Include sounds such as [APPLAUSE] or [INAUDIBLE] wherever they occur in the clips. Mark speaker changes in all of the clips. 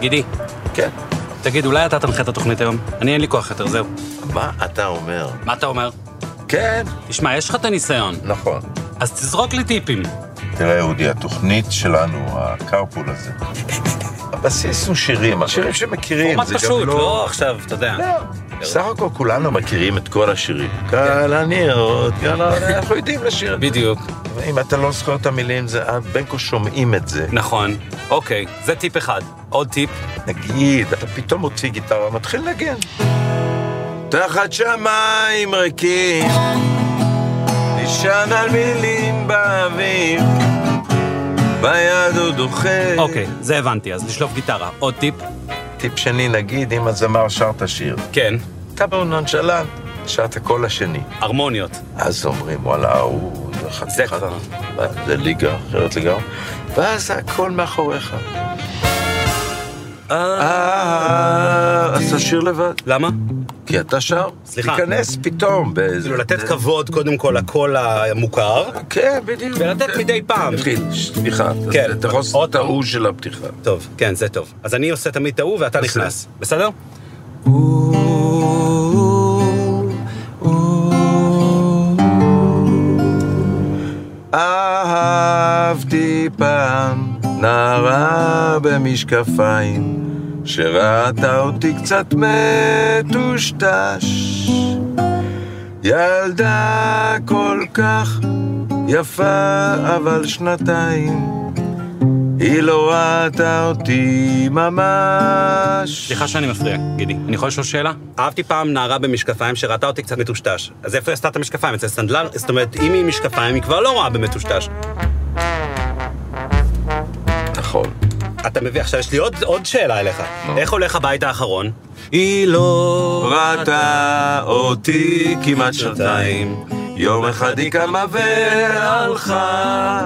Speaker 1: גידי,
Speaker 2: כן.
Speaker 1: תגיד, אולי אתה תנחה את התוכנית היום? אני אין לי כוח יותר, זהו.
Speaker 2: מה אתה אומר?
Speaker 1: מה אתה אומר?
Speaker 2: כן.
Speaker 1: תשמע, יש לך את הניסיון,
Speaker 2: נכון.
Speaker 1: אז תזרוק לי טיפים.
Speaker 2: תראה, אודי, התוכנית שלנו, הקרפול הזה, הבסיס הוא שירים, שירים שמכירים.
Speaker 1: פורמט
Speaker 2: זה גם
Speaker 1: פשוט, לא עכשיו, אתה יודע.
Speaker 2: לא, כן. סך הכל כולנו מכירים את כל השירים. קל הנרות, קל [LAUGHS] ה... אנחנו יודעים לשיר.
Speaker 1: בדיוק.
Speaker 2: אם אתה לא זוכר את המילים, זה... בין כה שומעים את זה.
Speaker 1: נכון. אוקיי, זה טיפ אחד. עוד טיפ?
Speaker 2: נגיד, אתה פתאום מוציא גיטרה, מתחיל לנגן. תחת שמיים ריקים, נשען על מילים באוויר, ביד הוא דוחה.
Speaker 1: אוקיי, זה הבנתי, אז לשלוף גיטרה. עוד טיפ?
Speaker 2: טיפ שני, נגיד, אם הזמר שר את השיר,
Speaker 1: כן.
Speaker 2: אתה בנונשלן, שר את הקול השני.
Speaker 1: הרמוניות.
Speaker 2: אז אומרים, וואלה, הוא...
Speaker 1: זה כבר.
Speaker 2: זה ליגה, אחרת לגמרי. ואז הכל מאחוריך. אה, אז תשאיר לבד.
Speaker 1: למה?
Speaker 2: כי אתה שר.
Speaker 1: סליחה.
Speaker 2: תיכנס פתאום באיזה...
Speaker 1: כאילו, לתת כבוד קודם כל לקול המוכר.
Speaker 2: כן, בדיוק.
Speaker 1: ולתת מדי פעם.
Speaker 2: נתחיל, סליחה.
Speaker 1: כן.
Speaker 2: אתה יכול לעשות את ההוא של הפתיחה.
Speaker 1: טוב, כן, זה טוב. אז אני עושה תמיד את ההוא ואתה
Speaker 2: בסדר.
Speaker 1: נכנס, בסדר?
Speaker 2: Oh, oh. אהבתי פעם נערה במשקפיים שראתה אותי קצת מטושטש ילדה כל כך יפה אבל שנתיים היא לא ראתה אותי ממש
Speaker 1: סליחה שאני מפריע, גידי. אני יכול לשאול שאלה? אהבתי פעם נערה במשקפיים שראתה אותי קצת מטושטש. אז איפה היא עשתה את המשקפיים? אצל סנדלר? זאת אומרת, אם היא עם משקפיים, היא כבר לא רואה במטושטש.
Speaker 2: נכון
Speaker 1: אתה מביא, עכשיו יש לי עוד, עוד שאלה אליך. איך הולך הבית האחרון? היא לא
Speaker 2: ראתה אותי כמעט שנתיים, יום אחד היא קמה והלכה,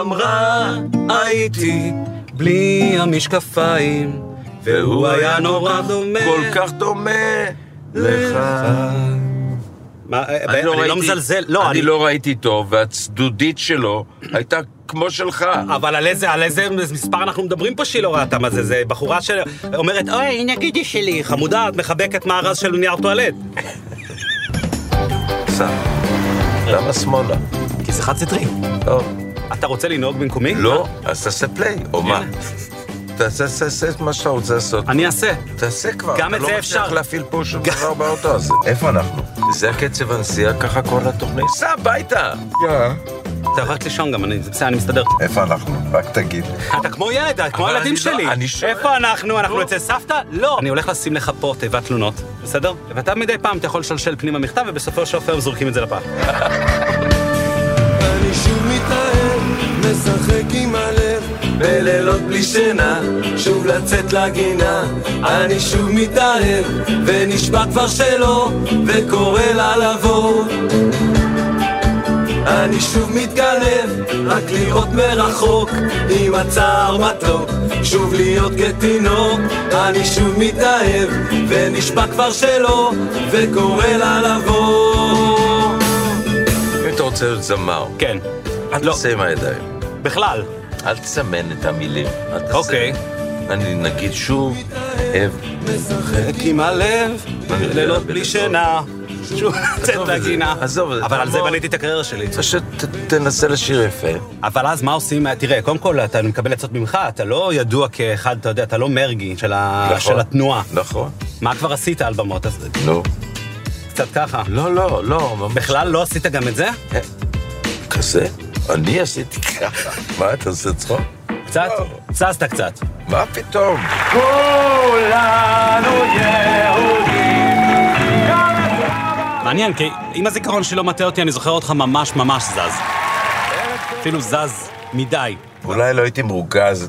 Speaker 2: אמרה הייתי,
Speaker 1: בלי המשקפיים,
Speaker 2: והוא היה נורא
Speaker 1: דומה.
Speaker 2: כל כך דומה לך.
Speaker 1: מה, אני לא
Speaker 2: ראיתי-
Speaker 1: מזלזל, לא,
Speaker 2: אני לא ראיתי טוב, והצדודית שלו הייתה כמו שלך.
Speaker 1: אבל על איזה, על איזה מספר אנחנו מדברים פה שהיא לא ראתה מה זה, זה בחורה שאומרת, אוי, הנה גידי שלי, חמודה, את מחבקת מארז של נייר טואלט.
Speaker 2: סע. למה שמאלה?
Speaker 1: כי זה חד סטרי.
Speaker 2: לא.
Speaker 1: אתה רוצה לנהוג במקומי?
Speaker 2: לא, אז תעשה פליי, או מה? תעשה תעשה- תעשה את מה שאתה רוצה לעשות.
Speaker 1: כן. אני אעשה.
Speaker 2: תעשה כבר,
Speaker 1: גם את זה
Speaker 2: אתה לא
Speaker 1: אפשר.
Speaker 2: מצליח להפעיל פה שום דבר באוטו הזה. איפה אנחנו? זה הקצב הנסיעה, ככה כל התוכנית. סע הביתה!
Speaker 1: אתה יכול רק לישון גם, אני- זה בסדר, אני מסתדר.
Speaker 3: איפה אנחנו? רק תגיד לי.
Speaker 1: אתה כמו ילד, אתה כמו
Speaker 2: אבל
Speaker 1: הילדים
Speaker 2: אני לא-
Speaker 1: שלי.
Speaker 2: אני שואל.
Speaker 1: איפה אנחנו? אנחנו
Speaker 2: לא.
Speaker 1: אצל סבתא? לא. אני הולך לשים לך פה תיבת תלונות, בסדר? ואתה מדי פעם, אתה יכול לשלשל פנימה מכתב, ובסופו של אופן זורקים את זה לפח.
Speaker 2: אני שוב מתאהב, משחק עם הלב, בלילות בלי שינה, שוב לצאת לגינה. אני שוב מתאהב, ונשבע כבר שלא, וקורא לה לבוא. אני שוב מתגנב, רק לראות מרחוק, עם הצער מתוק, שוב להיות כתינוק. אני שוב מתאהב, ונשבע כבר שלא, וקורא לה לבוא. אם אתה רוצה להיות זמר,
Speaker 1: כן.
Speaker 2: אל
Speaker 1: לא.
Speaker 2: תעשה עם הידיים,
Speaker 1: בכלל.
Speaker 2: אל תסמן את המילים. אל תעשה.
Speaker 1: אוקיי.
Speaker 2: אני נגיד שוב, אב,
Speaker 1: משחק עם הלב, לילות בלי שינה, שוב לצאת
Speaker 2: עזוב את זה,
Speaker 1: לגינה.
Speaker 2: עזוב את זה,
Speaker 1: אבל על זה
Speaker 2: תעבור.
Speaker 1: בניתי את הקריירה שלי.
Speaker 2: פשוט תנסה לשיר יפה.
Speaker 1: אבל אז מה עושים? תראה, קודם כל, אתה אני מקבל עצות ממך, אתה לא ידוע כאחד, אתה יודע, אתה לא מרגי של ה-
Speaker 2: נכון.
Speaker 1: של התנועה.
Speaker 2: נכון.
Speaker 1: מה כבר עשית על במות? אז
Speaker 2: נו.
Speaker 1: קצת ככה.
Speaker 2: לא, לא, לא, ממש.
Speaker 1: בכלל לא עשית גם את זה?
Speaker 2: אה, כזה? אני עשיתי ככה. מה, אתה עושה צחוק?
Speaker 1: קצת?
Speaker 2: לא.
Speaker 1: זזת קצת.
Speaker 2: מה פתאום?
Speaker 1: מעניין, כי אם הזיכרון שלי לא מטעה אותי, אני זוכר אותך ממש ממש זז. אפילו זז מדי.
Speaker 2: אולי לא הייתי מרוכז.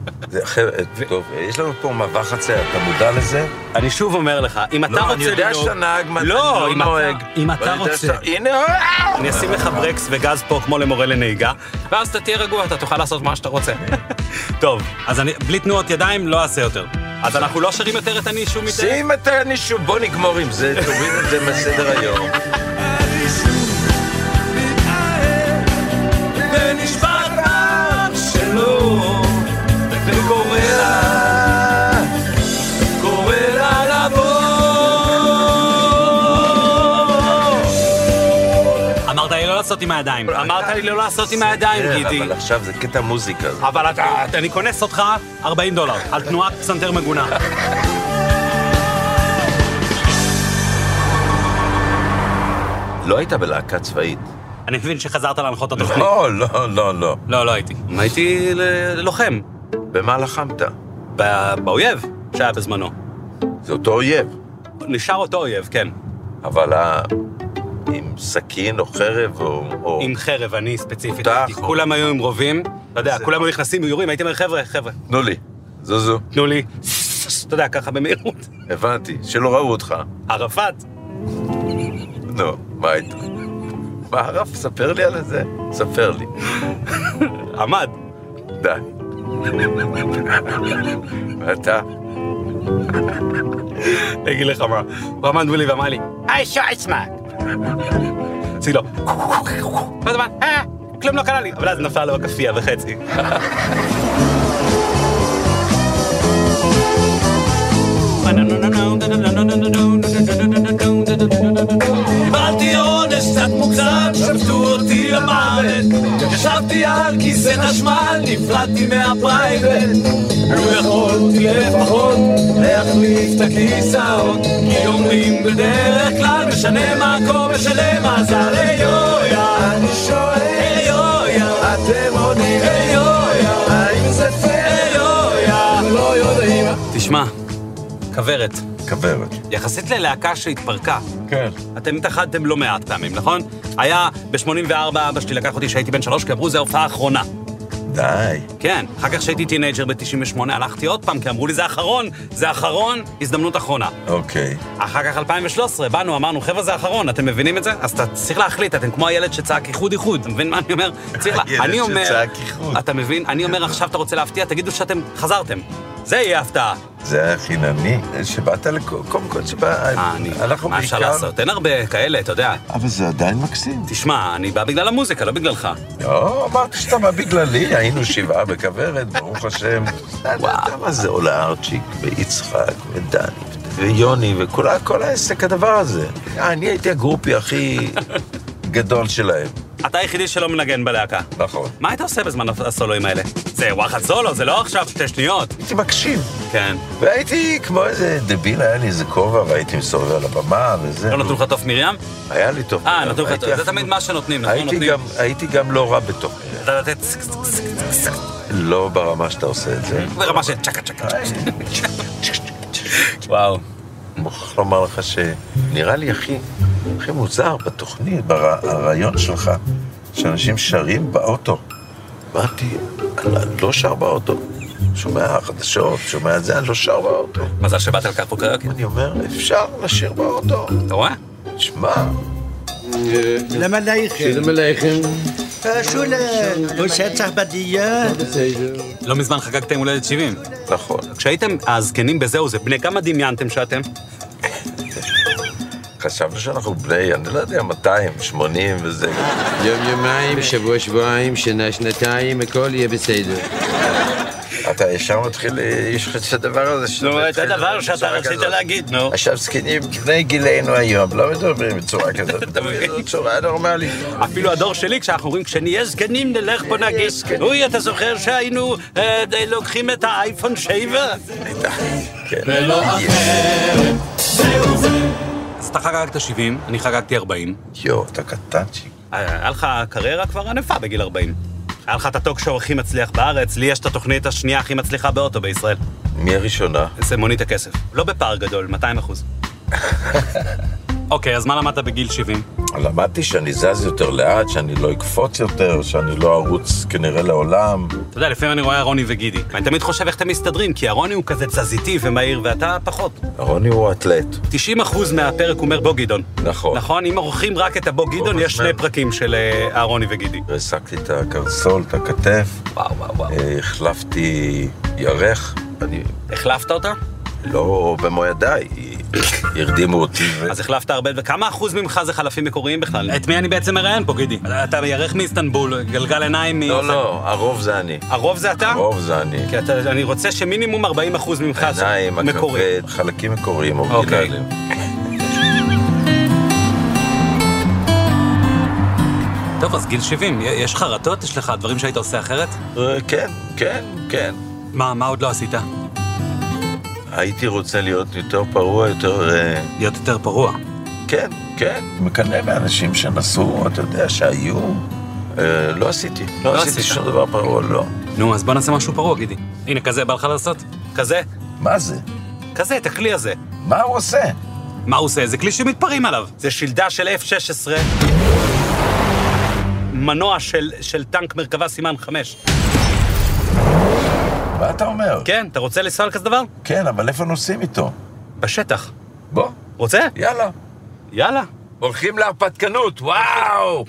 Speaker 2: [LAUGHS] זה אחרת, טוב, אה, יש לנו פה מעבר חצר, אתה מודע לזה?
Speaker 1: אני שוב אומר לך, אם אתה רוצה
Speaker 2: לא,
Speaker 1: לנהוג...
Speaker 2: אני יודע שאתה נהג, מה- אני
Speaker 1: לא,
Speaker 2: לא
Speaker 1: אם אתה-
Speaker 2: נוהג.
Speaker 1: אם אתה
Speaker 2: ואני יודע
Speaker 1: רוצה.
Speaker 2: שאתה- הנה, אה!
Speaker 1: אני אשים לך ברקס וגז פה כמו למורה לנהיגה, ואז אתה תהיה רגוע, אתה תוכל לעשות מה שאתה [LAUGHS] רוצה. טוב, אז אני בלי תנועות ידיים לא אעשה יותר. אז אנחנו לא שרים יותר את אני שוב מדי?
Speaker 2: שים את הנישוב, בוא נגמור עם זה, תוריד את זה מסדר היום. ונשבע כבר שלא, וקורא לה
Speaker 1: אמרת לי לא לעשות עם הידיים. אמרת לי לא לעשות עם הידיים, גידי.
Speaker 2: כן, אבל עכשיו זה קטע מוזיקה.
Speaker 1: אבל אתה, אני כונס אותך 40 דולר על תנועת פסנתר מגונה.
Speaker 2: לא היית בלהקה צבאית.
Speaker 1: אני מבין שחזרת להנחות את התוכנית.
Speaker 2: לא, לא, לא, לא.
Speaker 1: לא, לא הייתי. הייתי ל- לוחם.
Speaker 2: במה לחמת?
Speaker 1: ב- באויב שהיה בזמנו.
Speaker 2: זה אותו אויב,
Speaker 1: נשאר אותו אויב, כן.
Speaker 2: אבל ה... עם סכין או חרב או... או...
Speaker 1: עם חרב, אני ספציפית.
Speaker 2: תותח,
Speaker 1: הייתי.
Speaker 2: או-
Speaker 1: כולם היו עם רובים. אתה יודע,
Speaker 2: זה-
Speaker 1: כולם היו נכנסים ויורים, הייתי אומר, חבר'ה, חבר'ה,
Speaker 2: תנו לי, זוזו.
Speaker 1: תנו לי, אתה יודע, ככה במהירות. [LAUGHS]
Speaker 2: הבנתי, שלא ראו אותך.
Speaker 1: ערפאת.
Speaker 2: נו, מה הייתה? מה הרף? ספר לי על זה. ספר לי.
Speaker 1: עמד.
Speaker 2: די. [LAUGHS] ואתה?
Speaker 1: אני אגיד לך מה. הוא עמד מולי ואמר לי, היי שויסמק. [LAUGHS] עשיתי לו, כל הזמן, אה, כלום לא קרה לי. אבל אז נפל לו הכאפיה וחצי.
Speaker 4: קיבלתי עונש קצת מוגזם, שבתו אותי למוות ישבתי על כיסא חשמל, נפרדתי מהפרייבט לו יכולתי לפחות להחליף את הכיסאות כי אומרים בדרך כלל משנה מקום משלם אז הרי יויה אני שואל יויה אתם עונים יויה האם זה פייר יויה לא יודעים
Speaker 1: תשמע, כוורת.
Speaker 2: כוורת.
Speaker 1: יחסית ללהקה שהתפרקה,
Speaker 2: כן.
Speaker 1: אתם התאחדתם לא מעט פעמים, נכון? היה ב-84 אבא שלי לקח אותי כשהייתי בן שלוש, כי אמרו, זו ההופעה האחרונה.
Speaker 2: די.
Speaker 1: כן, אחר כך כשהייתי טינג'ר ב-98 הלכתי עוד פעם, כי אמרו לי, זה אחרון, זה אחרון, הזדמנות אחרונה.
Speaker 2: אוקיי.
Speaker 1: אחר כך 2013, באנו, אמרנו, חבר'ה, זה אחרון, אתם מבינים את זה? אז אתה צריך להחליט, אתם כמו הילד שצעק איחוד איחוד, אתה מבין מה אני
Speaker 2: [LAUGHS]
Speaker 1: אומר? צריך לה...
Speaker 2: הילד
Speaker 1: אני אומר...
Speaker 2: שצעק איחוד.
Speaker 1: אתה מבין? אני אומר, עכשיו אתה רוצה להפתיע, תגידו שאתם חזרתם. זה יהיה הפתעה.
Speaker 2: זה היה חינני. שבאת לכו... קודם כל שבא...
Speaker 1: אה, אני...
Speaker 2: אנחנו
Speaker 1: מה אפשר
Speaker 2: בעיקר-
Speaker 1: לעשות? אין הרבה כאלה, אתה יודע.
Speaker 2: אבל זה עדיין מקסים.
Speaker 1: תשמע, אני בא בגלל המוזיקה, לא בגללך.
Speaker 2: לא, אמרתי שאתה בא בגללי, היינו שבעה בכוורת, ברוך השם. וואו, מה זה עולה ארצ'יק, ויצחק, ודני, ויוני, וכל ה- כל העסק הדבר הזה. אה, אני הייתי הגרופי הכי גדול שלהם.
Speaker 1: אתה היחידי שלא מנגן בלהקה.
Speaker 2: נכון.
Speaker 1: מה היית עושה בזמן הסולואים האלה? זה וואחד סולו, זה לא עכשיו שתי שניות.
Speaker 2: הייתי מקשיב,
Speaker 1: כן.
Speaker 2: והייתי כמו איזה דביל, היה לי איזה כובע, והייתי מסובב על הבמה, וזה.
Speaker 1: לא נתנו לך תוף מרים?
Speaker 2: היה לי טוב.
Speaker 1: אה, נתנו לך
Speaker 2: הייתי
Speaker 1: תוף. זה
Speaker 2: אפילו-
Speaker 1: תמיד מה שנותנים, נכון?
Speaker 2: הייתי
Speaker 1: נותנים.
Speaker 2: גם- הייתי גם לא רע בתוך...
Speaker 1: אתה לתת צק, צק, צק, צק, צק,
Speaker 2: לא ברמה שאתה עושה את זה.
Speaker 1: ברמה של צ'קה צ'קה צ'קה. וואו.
Speaker 2: אני מוכרח לומר לך שנראה לי הכי, הכי מוזר בתוכנית, ברעיון שלך, שאנשים שרים באוטו. אמרתי, אני לא שר באוטו. שומע חדשות, שומע את זה, אני לא שר באוטו.
Speaker 1: מזל שבאת לקחת פה קריוקי.
Speaker 2: אני אומר, אפשר לשיר באוטו.
Speaker 1: אוקיי, אתה רואה?
Speaker 2: תשמע,
Speaker 5: שלום עליכם, בסדר.
Speaker 1: לא מזמן חגגתם הולדת 70.
Speaker 2: נכון,
Speaker 1: כשהייתם הזקנים בזהו זה, בני כמה דמיינתם שאתם?
Speaker 2: חשבנו שאנחנו בני, אני לא יודע, 200, 80 וזה.
Speaker 5: יום יומיים, שבוע שבועיים, שנה שנתיים, הכל יהיה בסדר.
Speaker 2: אתה ישר מתחיל, יש לך את הדבר הזה. שאתה מתחיל בצורה כזאת.
Speaker 1: להגיד, נו.
Speaker 2: עכשיו זקנים בני גילנו היום, לא מדברים בצורה כזאת, [LAUGHS] מדברים בצורה נורמלית.
Speaker 1: אפילו הדור שלי, כשאנחנו אומרים, כשנהיה זקנים נלך בוא נגיד, אוי, אתה זוכר שהיינו אה, די- לוקחים את האייפון 7?
Speaker 2: כן.
Speaker 1: אז אתה חגגת 70, אני חגגתי 40.
Speaker 2: יואו, אתה קטנצ'יק.
Speaker 1: אה, היה לך קריירה כבר ענפה בגיל 40. היה לך את הטוק שואו הכי מצליח בארץ, לי יש את התוכנית השנייה הכי מצליחה באוטו בישראל.
Speaker 2: מי הראשונה?
Speaker 1: זה מונית הכסף. לא בפער גדול, 200 אחוז. אוקיי, אז מה למדת בגיל 70?
Speaker 2: למדתי שאני זז יותר לאט, שאני לא אקפוץ יותר, שאני לא ארוץ כנראה לעולם.
Speaker 1: אתה יודע, לפעמים אני רואה רוני וגידי, ואני תמיד חושב איך אתם מסתדרים, כי הרוני הוא כזה תזזיתי ומהיר, ואתה פחות.
Speaker 2: רוני הוא אתלט.
Speaker 1: 90 אחוז מהפרק אומר בו גדעון.
Speaker 2: נכון.
Speaker 1: נכון? אם עורכים רק את הבו גדעון, יש שני
Speaker 2: חשמל.
Speaker 1: פרקים של אה, הרוני וגידי.
Speaker 2: ריסקתי את הקרסול, את הכתף,
Speaker 1: וואו, וואו, וואו.
Speaker 2: אה, החלפתי ירך, אני
Speaker 1: החלפת אותה?
Speaker 2: לא במו ידיי, הרדימו אותי. ו-
Speaker 1: אז החלפת הרבה, וכמה אחוז ממך זה חלפים מקוריים בכלל? את מי אני בעצם מראיין פה, גידי? אתה ירך מאיסטנבול, גלגל עיניים מ...
Speaker 2: לא, לא, הרוב זה אני.
Speaker 1: הרוב זה אתה?
Speaker 2: הרוב זה אני.
Speaker 1: כי אתה, אני רוצה שמינימום 40 אחוז ממך זה
Speaker 2: העיניים,
Speaker 1: מקורי.
Speaker 2: הכבד, חלקים מקוריים,
Speaker 1: אוקיי.
Speaker 2: אורגינליים.
Speaker 1: טוב, אז גיל 70, יש חרטות? יש לך דברים שהיית עושה אחרת?
Speaker 2: אה, כן, כן, כן.
Speaker 1: מה, מה עוד לא עשית?
Speaker 2: הייתי רוצה להיות יותר פרוע, יותר... אה,
Speaker 1: להיות יותר פרוע.
Speaker 2: כן, כן. מקנא באנשים שנסעו, אתה יודע, שהיו. אה, לא עשיתי, לא,
Speaker 1: לא
Speaker 2: עשיתי
Speaker 1: עשית.
Speaker 2: שום דבר פרוע, לא.
Speaker 1: נו, אז בוא נעשה משהו פרוע, גידי. הנה, כזה בא לך לעשות? כזה?
Speaker 2: מה זה?
Speaker 1: כזה, את הכלי הזה.
Speaker 2: מה הוא עושה?
Speaker 1: מה הוא עושה? זה כלי שמתפרעים עליו. זה שלדה של F-16, מנוע של, של טנק מרכבה סימן 5.
Speaker 2: מה אתה אומר?
Speaker 1: כן, אתה רוצה לנסוע על כזה דבר?
Speaker 2: כן, אבל איפה נוסעים איתו?
Speaker 1: בשטח.
Speaker 2: בוא,
Speaker 1: רוצה?
Speaker 2: יאללה.
Speaker 1: יאללה.
Speaker 2: הולכים להרפתקנות, וואו!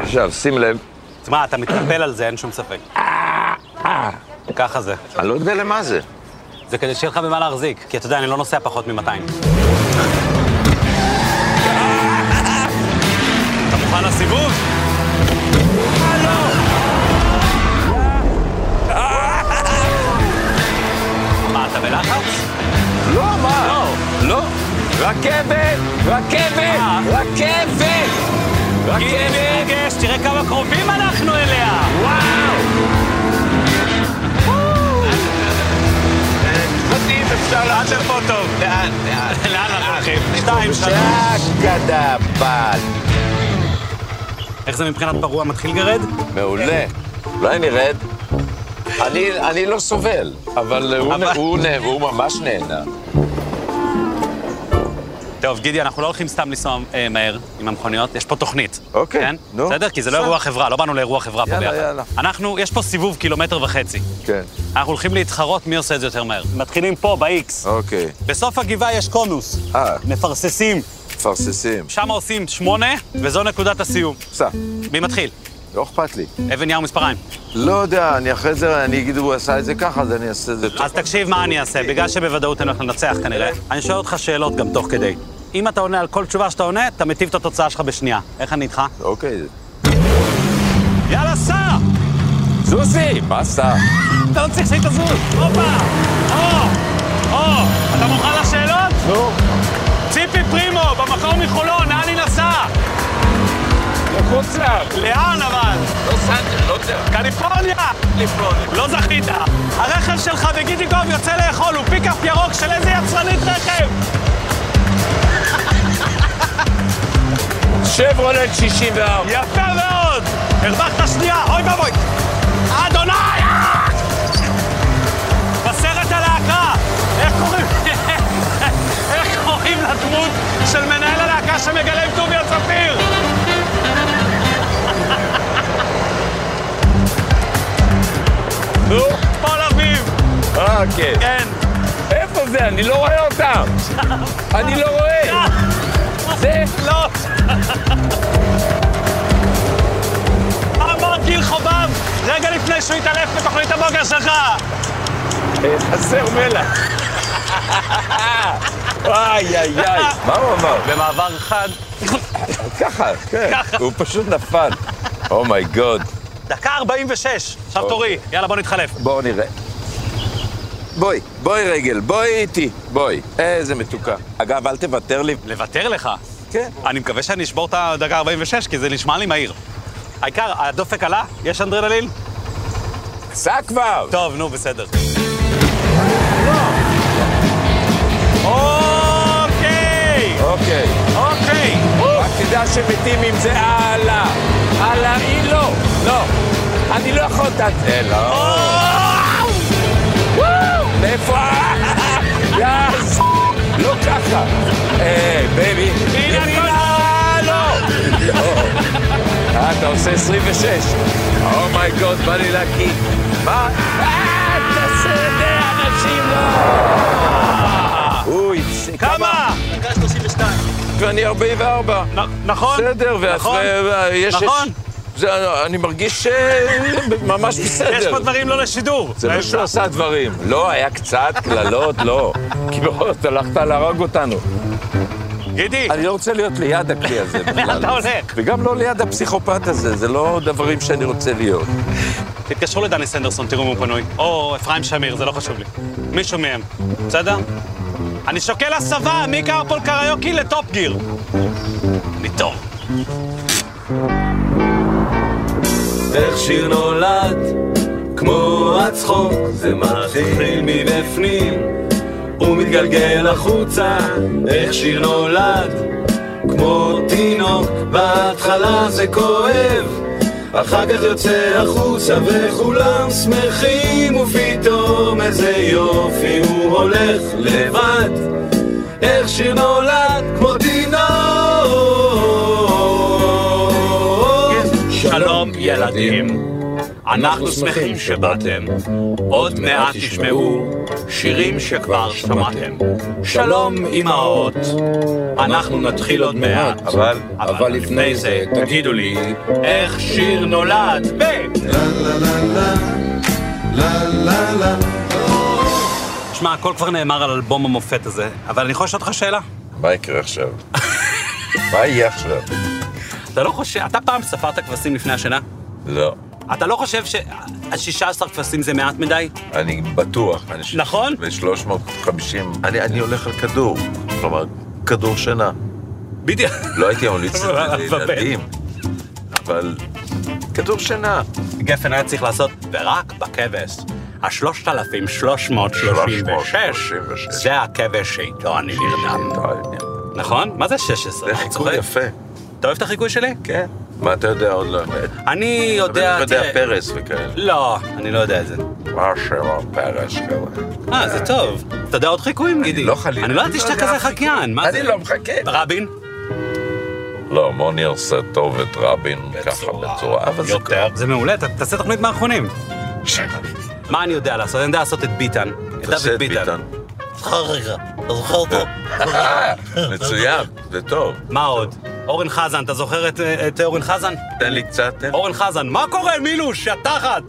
Speaker 3: עכשיו, שים לב,
Speaker 1: תשמע, אתה מתנפל על זה, אין שום ספק. ככה זה.
Speaker 3: אני לא יודע למה זה.
Speaker 1: זה כדי שיהיה לך במה להחזיק, כי אתה יודע, אני לא נוסע פחות מ-200. אתה מוכן לסיבוב? מה, אתה בלחץ?
Speaker 3: לא, מה? לא. רכבת! רכבת!
Speaker 1: אה.
Speaker 3: רכבת!
Speaker 1: גיל,
Speaker 3: רכבת!
Speaker 1: רגש, תראה כמה קרובים אנחנו אליה!
Speaker 3: וואו!
Speaker 1: לאן פה טוב?
Speaker 3: לאן? לאן?
Speaker 1: לאן אנחנו הולכים? שתיים, שלוש.
Speaker 3: שקדה בת.
Speaker 1: איך זה מבחינת פרוע מתחיל גרד?
Speaker 3: מעולה. אולי נרד? אני, אני לא סובל, אבל הוא,
Speaker 1: אבל-
Speaker 3: נ- הוא, נ- הוא ממש נהנה.
Speaker 1: טוב, גידי, אנחנו לא הולכים סתם לנסוע אה, מהר עם המכוניות, יש פה תוכנית.
Speaker 3: אוקיי,
Speaker 1: כן?
Speaker 3: נו.
Speaker 1: בסדר? כי זה לא אירוע חברה, לא באנו לאירוע חברה פה
Speaker 3: יאללה,
Speaker 1: ביחד.
Speaker 3: יאללה.
Speaker 1: אנחנו, יש פה סיבוב קילומטר וחצי.
Speaker 3: כן,
Speaker 1: אנחנו הולכים להתחרות מי עושה את זה יותר מהר. מתחילים פה, ב-X.
Speaker 3: אוקיי.
Speaker 1: בסוף הגבעה יש קונוס.
Speaker 3: אה.
Speaker 1: מפרססים.
Speaker 3: מפרססים.
Speaker 1: שם עושים שמונה, וזו נקודת הסיום.
Speaker 3: סע,
Speaker 1: מי מתחיל?
Speaker 3: לא אכפת לי.
Speaker 1: אבן יער מספריים.
Speaker 3: לא יודע, אני אחרי זה, אני אגיד, הוא עשה את זה ככה, אז אני אעשה את זה טוב.
Speaker 1: אז תקשיב מה אני אעשה, בגלל שבוודאות אני הולך לנצח כנראה. אני שואל אותך שאלות גם תוך כדי. אם אתה עונה על כל תשובה שאתה עונה, אתה מטיב את התוצאה שלך בשנייה. איך אני איתך?
Speaker 3: אוקיי.
Speaker 1: יאללה, סע!
Speaker 3: זוזי, מה סע?
Speaker 1: אתה לא צריך שהיא תזוז. הופה! או! או! אתה מוכן לשאלות?
Speaker 3: נו.
Speaker 1: ציפי פרימו, במקור מחולון, לאן היא נסעה?
Speaker 3: לחוץ לארץ.
Speaker 1: לאן אבל?
Speaker 3: לוס אנג'ל, לא יודע.
Speaker 1: קליפורניה! קליפורניה. לא זכית. הרכב שלך בגידיגוב יוצא לאכול, הוא פיקאפ ירוק של איזה יצרנית רכב?
Speaker 3: שברולט 64.
Speaker 1: יפה מאוד! הרווחת שנייה, אוי ואבוי! אדוני! בסרט הלהקה! איך קוראים... [LAUGHS] איך קוראים לדמות של מנהל הלהקה שמגלם טוביה [LAUGHS] צפיר?
Speaker 3: נו,
Speaker 1: פול אביב!
Speaker 3: אה, כן.
Speaker 1: כן.
Speaker 3: איפה זה? אני לא רואה
Speaker 1: [LAUGHS]
Speaker 3: אותם. אני לא רואה. זה?
Speaker 1: לא! אמר גיל חובב רגע לפני שהוא התעלף בתוכנית הבוקר שלך!
Speaker 3: אה, חסר מלח. איי, איי, איי. מה הוא אמר?
Speaker 1: במעבר חד.
Speaker 3: ככה, כן.
Speaker 1: ככה.
Speaker 3: הוא פשוט נפל. Oh אומייגוד.
Speaker 1: דקה 46, עכשיו
Speaker 3: אוקיי.
Speaker 1: תורי. יאללה, בוא נתחלף.
Speaker 3: בואו נראה. בואי, בואי רגל, בואי איתי, בואי. איזה מתוקה. אגב, אל תוותר לי.
Speaker 1: לוותר לך.
Speaker 3: כן.
Speaker 1: אני מקווה שאני אשבור את הדקה 46, כי זה נשמע לי מהיר. העיקר, הדופק עלה? יש אנדרנלין?
Speaker 3: סע כבר!
Speaker 1: טוב, נו, בסדר. אוקיי!
Speaker 3: אוקיי.
Speaker 1: אוקיי!
Speaker 3: רק תדע שמתים עם זה הלאה. הלאה, היא לא. לא. אני לא יכול לתת... אה, לא. מאיפה? יאס! לא ככה. אה, בייבי. ימינה, לא. לא. אה, אתה עושה 26. אומייגוד, בא לי להקיא. מה? אה, תעשה את זה, אנשים לא. אוי, זה-
Speaker 1: כמה?
Speaker 3: ואני 44.
Speaker 1: נ- נכון?
Speaker 3: בסדר, ואת-
Speaker 1: נכון?
Speaker 3: ו- ויש...
Speaker 1: נכון?
Speaker 3: זה- אני מרגיש אה, ממש בסדר.
Speaker 1: יש פה דברים לא לשידור.
Speaker 3: זה לא שהוא עשה דברים. לא, היה קצת קללות, לא. [LAUGHS] כי בכל זאת הלכת להרוג אותנו.
Speaker 1: גידי,
Speaker 3: אני לא רוצה להיות ליד הכלי הזה בכלל.
Speaker 1: לאן אתה הולך?
Speaker 3: וגם לא ליד הפסיכופת הזה, זה לא דברים שאני רוצה להיות.
Speaker 1: תתקשרו לדני סנדרסון, תראו אם הוא פנוי. או אפרים שמיר, זה לא חשוב לי. מישהו מהם, בסדר? אני שוקל הסבה מקרפול קריוקי לטופ גיר. אני טוב.
Speaker 4: איך שיר נולד, כמו הצחוק, זה מתחיל מבפנים, הוא מתגלגל החוצה, איך שיר נולד, כמו תינוק, בהתחלה זה כואב, אחר כך יוצא החוצה וכולם שמחים, ופתאום איזה יופי הוא הולך לבד, איך שיר נולד, כמו תינוק.
Speaker 1: שלום, ילדים. אנחנו שמחים שבאתם. עוד מעט תשמעו שירים שכבר שמעתם. שלום, אמהות. אנחנו נתחיל עוד מעט.
Speaker 2: אבל-
Speaker 1: אבל לפני זה, תגידו לי, איך שיר נולד? ב... שמע, הכל כבר נאמר על אלבום המופת הזה, אבל אני יכול לשאול אותך שאלה?
Speaker 2: מה יקרה עכשיו? מה יהיה עכשיו?
Speaker 1: אתה לא חושב, אתה פעם ספרת כבשים לפני השינה?
Speaker 2: לא.
Speaker 1: אתה לא חושב ש-16 כבשים זה מעט מדי?
Speaker 2: אני בטוח. אני ש-
Speaker 1: נכון?
Speaker 2: ב-350. אני, אני הולך על כדור. כלומר, כדור שינה.
Speaker 1: בדיוק.
Speaker 2: לא הייתי ממליץ את זה
Speaker 1: בפה.
Speaker 2: לילדים, אבל כדור שינה.
Speaker 1: גפן היה צריך לעשות ורק בכבש. השלושת אלפים שלוש מאות שלושים ושש,
Speaker 2: 336.
Speaker 1: זה הכבש שאיתו אני נרדם. נכון? מה זה 16?
Speaker 2: זה
Speaker 1: אני צוחק.
Speaker 2: חיקוי יפה.
Speaker 1: אתה אוהב את החיקוי שלי?
Speaker 2: כן. מה אתה יודע עוד לא?
Speaker 1: אני יודע...
Speaker 2: אתה יודע
Speaker 1: תראה-
Speaker 2: פרס וכאלה.
Speaker 1: לא, אני לא יודע את זה.
Speaker 2: מה השם פרס כאלה?
Speaker 1: אה, זה טוב. אתה יודע עוד חיקויים, גידי?
Speaker 2: לא חלילה.
Speaker 1: אני לא ידעתי שאתה
Speaker 2: יודע
Speaker 1: כזה
Speaker 2: אף חיקוי.
Speaker 1: חקיין, מה זה?
Speaker 2: אני לא מחכה.
Speaker 1: רבין?
Speaker 2: לא, מוני עושה טוב את רבין ככה בצורה, אבל זה
Speaker 1: יותר. זה מעולה, ת- תעשה תוכנית מערכונים.
Speaker 2: ככה.
Speaker 1: מה אני יודע לעשות? אני יודע לעשות את ביטן. את
Speaker 2: תעשה
Speaker 1: דוד
Speaker 2: את ביטן.
Speaker 1: ביטן.
Speaker 2: אה, [LAUGHS] מצוין, זה טוב.
Speaker 1: מה עוד? אורן חזן, אתה זוכר את- אה, את אורן חזן?
Speaker 2: תן לי קצת, תן לי.
Speaker 1: אורן חזן, מה קורה, מילוש, יא תחת?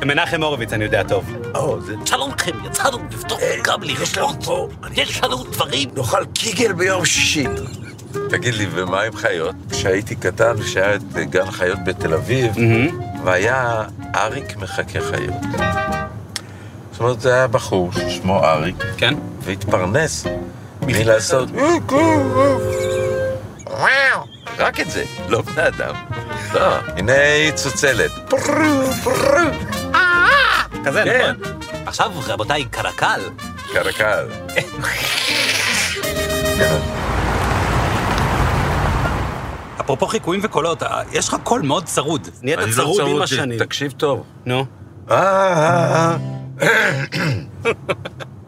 Speaker 1: [LAUGHS] מנחם הורוביץ, אני יודע טוב.
Speaker 2: או, זה- אה,
Speaker 6: שלום לכם, יצאנו לפתוח גם לחיות. יש לנו דברים
Speaker 2: נאכל קיגל ביום שישי. תגיד לי, ומה עם חיות? כשהייתי קטן, כשהיה את גן חיות בתל אביב, והיה אריק מחכה חיות. זאת אומרת, זה היה בחור ששמו אריק,
Speaker 1: כן?
Speaker 2: והתפרנס מלעשות... כן. רק את זה, לא בני אדם. לא, הנה היא צוצלת.
Speaker 1: כזה,
Speaker 2: כן.
Speaker 1: נכון? עכשיו, רבותיי, קרקל.
Speaker 2: קרקל.
Speaker 1: אפרופו חיקויים וקולות, אה, יש לך קול מאוד צרוד. נהיית
Speaker 2: אני לא
Speaker 1: צרוד עם
Speaker 2: צרוד,
Speaker 1: השנים.
Speaker 2: תקשיב טוב.
Speaker 1: נו.
Speaker 2: אה,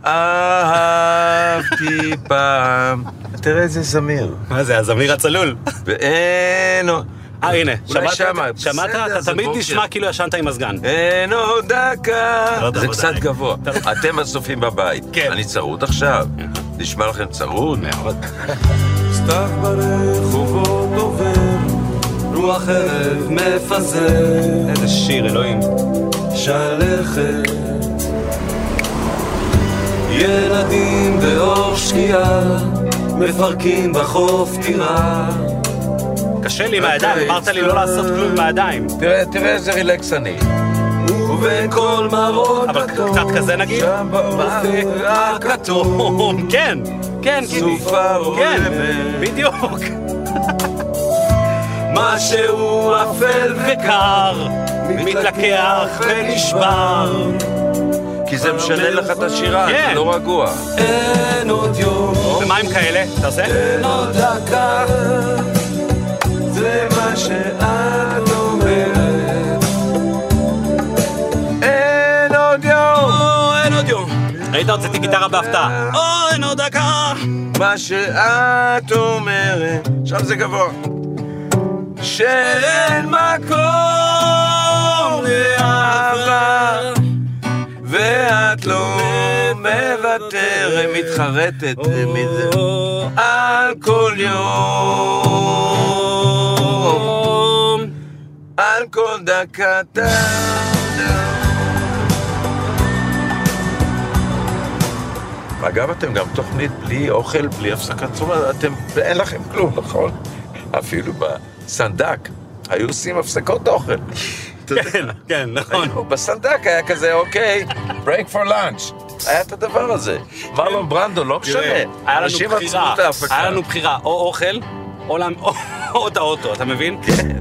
Speaker 2: [COUGHS] אהבתי פעם. תראה איזה זמיר.
Speaker 1: מה זה, הזמיר
Speaker 2: [LAUGHS]
Speaker 1: הצלול.
Speaker 2: ואין עוד...
Speaker 1: אה, הנה,
Speaker 2: אולי שמה,
Speaker 1: שמעת? שמעת?
Speaker 2: בסדר,
Speaker 1: אתה
Speaker 2: זה
Speaker 1: תמיד
Speaker 2: בוקר.
Speaker 1: נשמע כאילו ישנת עם מזגן.
Speaker 2: אין עוד דקה.
Speaker 1: אתה
Speaker 2: זה
Speaker 1: לא
Speaker 2: קצת
Speaker 1: די.
Speaker 2: גבוה. אתם הצופים בבית.
Speaker 1: כן.
Speaker 2: אני צרוד עכשיו. נשמע לכם צרוד? מאוד.
Speaker 4: סתיו ברחובות עובר, רוח ערב מפזר,
Speaker 1: איזה שיר, אלוהים.
Speaker 4: שלכת. ילדים באור שקיעה, מפרקים בחוף טירה.
Speaker 1: קשה לי עם
Speaker 2: אוקיי.
Speaker 1: הידיים, אמרת לי לא לעשות כלום בידיים.
Speaker 2: תראה, תראה איזה רילקס אני.
Speaker 4: ובין כל מראות
Speaker 1: אבל קצת כזה נגיד?
Speaker 2: שם באופק
Speaker 1: הכתום. כן, כן, גידי.
Speaker 2: סופה
Speaker 1: כן,
Speaker 2: עולמת. [LAUGHS]
Speaker 1: בדיוק.
Speaker 4: משהו אפל
Speaker 1: וקר, מתלקח ונשבר.
Speaker 2: כי זה משנה לך את השירה,
Speaker 1: כן.
Speaker 2: אתה לא רגוע.
Speaker 4: ואין עוד יום,
Speaker 1: ומה עם כאלה? תעשה.
Speaker 4: אין עוד דקה. זה מה שאת אומרת.
Speaker 2: אין עוד יום.
Speaker 1: או, אין עוד יום. ראית, הוצאתי גיטרה בהפתעה. או, אין עוד דקה.
Speaker 2: מה שאת אומרת, עכשיו זה גבוה. שאין מקום לאהבה, ואת לא מוותרת, מתחרטת מזה, על כל יום, על כל דקתה. אגב, אתם גם תוכנית בלי אוכל, בלי הפסקת תשומה, אתם, אין לכם כלום, נכון? אפילו בסנדק, היו עושים הפסקות אוכל. אתה יודע.
Speaker 1: כן, [LAUGHS] כן, נכון.
Speaker 2: הוא בסנדק היה כזה, אוקיי, break for lunch. היה את הדבר הזה. מרלון ברנדו, לא משנה.
Speaker 1: תראה, היה לנו
Speaker 2: אנשים
Speaker 1: בחירה,
Speaker 2: עצרו את ההפקה.
Speaker 1: היה לנו בחירה, או אוכל, או למ- או- או את האוטו, אתה מבין?
Speaker 2: כן.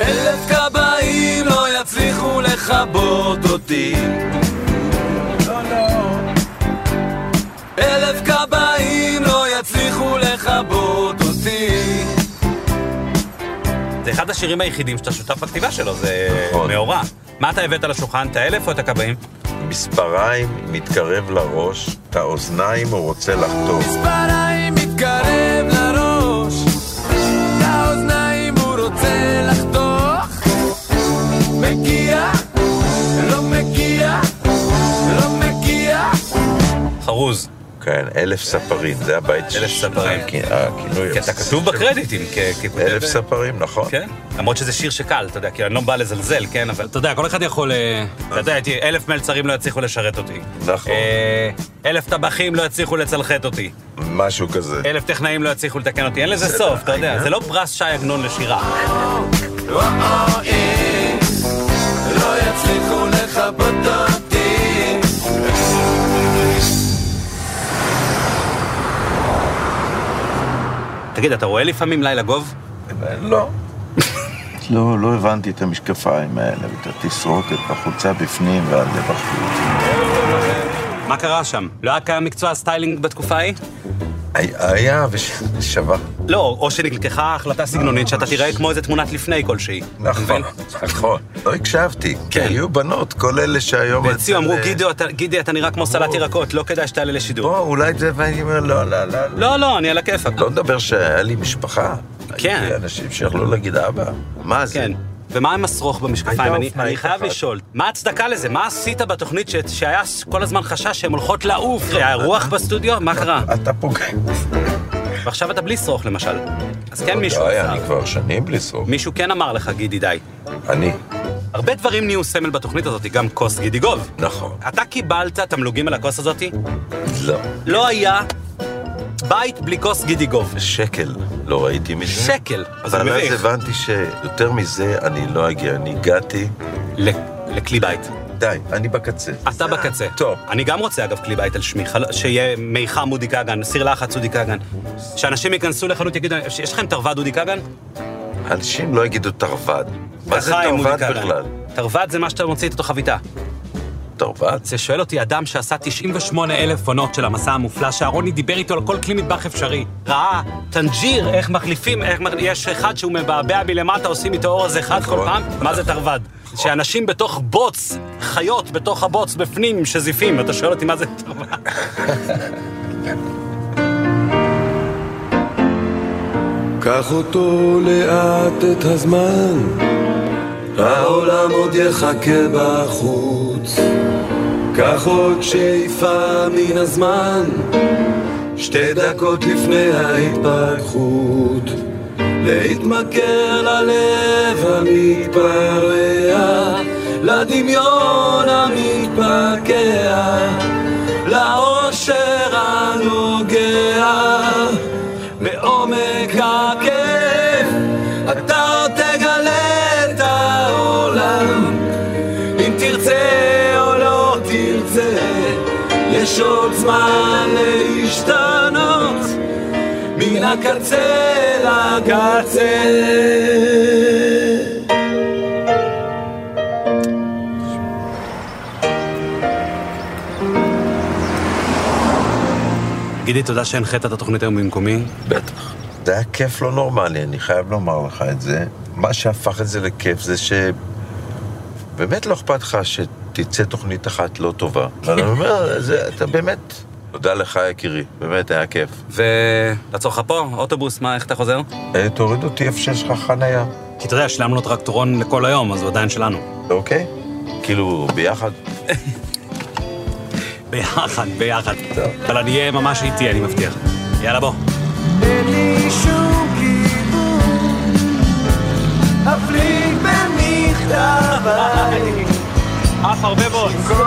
Speaker 4: אלף כבאים לא יצליחו לכבות אותי. אלף כבאים לא יצליחו לכבות אותי.
Speaker 1: זה אחד השירים היחידים שאתה שותף בכתיבה שלו, זה
Speaker 2: נכון.
Speaker 1: מאורע. מה אתה הבאת לשולחן, את האלף או את הכבאים?
Speaker 2: מספריים מתקרב לראש, את האוזניים הוא רוצה לחטוף.
Speaker 4: מספריים מתקרב לראש, לאוזניים הוא רוצה לחתוך. מגיע, לא מגיע, לא מגיע.
Speaker 1: חרוז.
Speaker 2: כן, אלף ספרים, זה הבית שלי.
Speaker 1: אלף ספרים.
Speaker 2: כן, הכינוי.
Speaker 1: כי אתה כתוב בקרדיטים, כ- ככותב...
Speaker 2: אלף ספרים, נכון.
Speaker 1: כן, למרות שזה שיר שקל, אתה יודע, כי אני לא בא לזלזל, כן, אבל אתה יודע, כל אחד יכול... אה, אתה יודע, הייתי- אלף מלצרים לא יצליחו לשרת אותי.
Speaker 2: נכון.
Speaker 1: אה, אלף טבחים לא יצליחו לצלחת אותי.
Speaker 2: משהו כזה.
Speaker 1: אלף טכנאים לא יצליחו לתקן אותי. אין לזה סוף, אתה יודע, זה לא פרס ש"י עגנון לשירה.
Speaker 4: אוי, לא יצליחו לכבות אותי.
Speaker 1: תגיד, אתה רואה לפעמים לילה גוב?
Speaker 2: לא.
Speaker 7: [LAUGHS] לא, לא הבנתי את המשקפיים האלה, ואת התסרוקת בחולצה בפנים והלב בחוץ.
Speaker 1: מה קרה שם? לא היה קיים מקצוע הסטיילינג בתקופה ההיא?
Speaker 2: היה ושווה.
Speaker 1: לא, או שנלקחה החלטה סגנונית שאתה תיראה כמו איזה תמונת לפני כלשהי.
Speaker 2: נכון, נכון. לא הקשבתי, כי
Speaker 1: כן.
Speaker 2: היו בנות, כל אלה שהיום...
Speaker 1: והציעו, אמרו,
Speaker 2: אצל, אה,
Speaker 1: גידי, אתה- גידי, אתה נראה כמו סלט ירקות, לא כדאי שתעלה לשידור.
Speaker 2: בוא, אולי זה, ואני אומר, לא, לא, לא.
Speaker 1: לא, לא, אני על הכיפאק.
Speaker 2: לא מדבר שהיה לי משפחה.
Speaker 1: כן.
Speaker 2: הייתי אנשים שיכלו להגיד אבא. מה זה?
Speaker 1: כן. ומה עם השרוך במשקפיים?
Speaker 2: הייתה
Speaker 1: אני,
Speaker 2: אופנאית
Speaker 1: אני חייב
Speaker 2: אחת.
Speaker 1: לשאול, מה ההצדקה לזה? מה עשית בתוכנית ש... שהיה כל הזמן חשש שהן הולכות לעוף?
Speaker 2: לא.
Speaker 1: היה רוח בסטודיו? מה קרה?
Speaker 2: אתה פוגע.
Speaker 1: ועכשיו אתה בלי שרוך למשל. אז כן מישהו
Speaker 2: לא היה,
Speaker 1: עשה.
Speaker 2: אני כבר שנים בלי סוף.
Speaker 1: מישהו כן אמר לך, גידי, די.
Speaker 2: אני.
Speaker 1: הרבה דברים נהיו סמל בתוכנית הזאת, גם כוס גידי גוב.
Speaker 2: נכון.
Speaker 1: אתה קיבלת תמלוגים על הכוס הזאת?
Speaker 2: לא.
Speaker 1: לא היה בית בלי כוס גידי גוב.
Speaker 2: שקל לא ראיתי מזה.
Speaker 1: שקל. אז זה
Speaker 2: אבל אז
Speaker 1: מביך.
Speaker 2: הבנתי שיותר מזה אני לא אגיע. אני הגעתי,
Speaker 1: ל- לכלי בית.
Speaker 2: די, אני בקצה.
Speaker 1: אתה בקצה.
Speaker 2: טוב.
Speaker 1: אני גם רוצה, אגב, כלי בית על שמי, חל- שיהיה מיחם אודי כגן, סיר לחץ אודי כגן. שאנשים ייכנסו לחנות יגידו, "יש- יש לכם תרווד אודי כגן?
Speaker 2: אנשים לא יגידו תרווד. מה זה
Speaker 1: חיים, אודי
Speaker 2: תרווד
Speaker 1: כגן."
Speaker 2: בכלל?
Speaker 1: תרווד זה מה שאתה מוציא את אותו חביתה.
Speaker 2: תרווד?
Speaker 1: זה שואל אותי אדם שעשה 98 אלף עונות של המסע המופלא, שאהרוני דיבר איתו על כל כלי מטבח אפשרי. ראה, טנג'יר, איך מחליפים, איך... מח- יש אחד שהוא מבעבע מלמטה, עושים איתו אורז אחד כל
Speaker 2: נכון.
Speaker 1: פעם, מה זה תרווד? שאנשים בתוך בוץ, חיות בתוך הבוץ בפנים, שזיפים, אתה שואל אותי מה זה תרווד?
Speaker 4: קח אותו לאט את הזמן, העולם עוד יחכה בחוץ. קח עוד שאיפה מן הזמן, שתי דקות לפני ההתפכחות. להתמכר ללב המתפרע, לדמיון המתפקע, לאושר הנוגע. מעומק הכאב אתה עוד תגלה את העולם אם תרצה או לא תרצה יש עוד זמן להשתנות מן הקצה לקצה
Speaker 1: גידי, תודה שהנחית את התוכנית היום במקומי.
Speaker 2: בטח. זה היה כיף לא נורמלי, אני חייב לומר לך את זה. מה שהפך את זה לכיף זה ש... באמת לא אכפת לך שתצא תוכנית אחת לא טובה. אני אומר, זה, אתה באמת... תודה לך, יקירי, באמת היה כיף.
Speaker 1: ולעצור לך פה, אוטובוס, מה, איך אתה חוזר?
Speaker 2: אה, תוריד אותי איפה שיש לך חנייה,
Speaker 1: כי אתה יודע, שילמנו לו טרקטורון לכל היום, אז הוא עדיין שלנו.
Speaker 2: אוקיי? כאילו, ביחד.
Speaker 1: ביחד, ביחד. אבל אני אהיה ממש איתי, אני מבטיח. יאללה, בוא.
Speaker 4: אין לי שום כיוון אפליג במכתביי
Speaker 1: אף הרבה מאוד.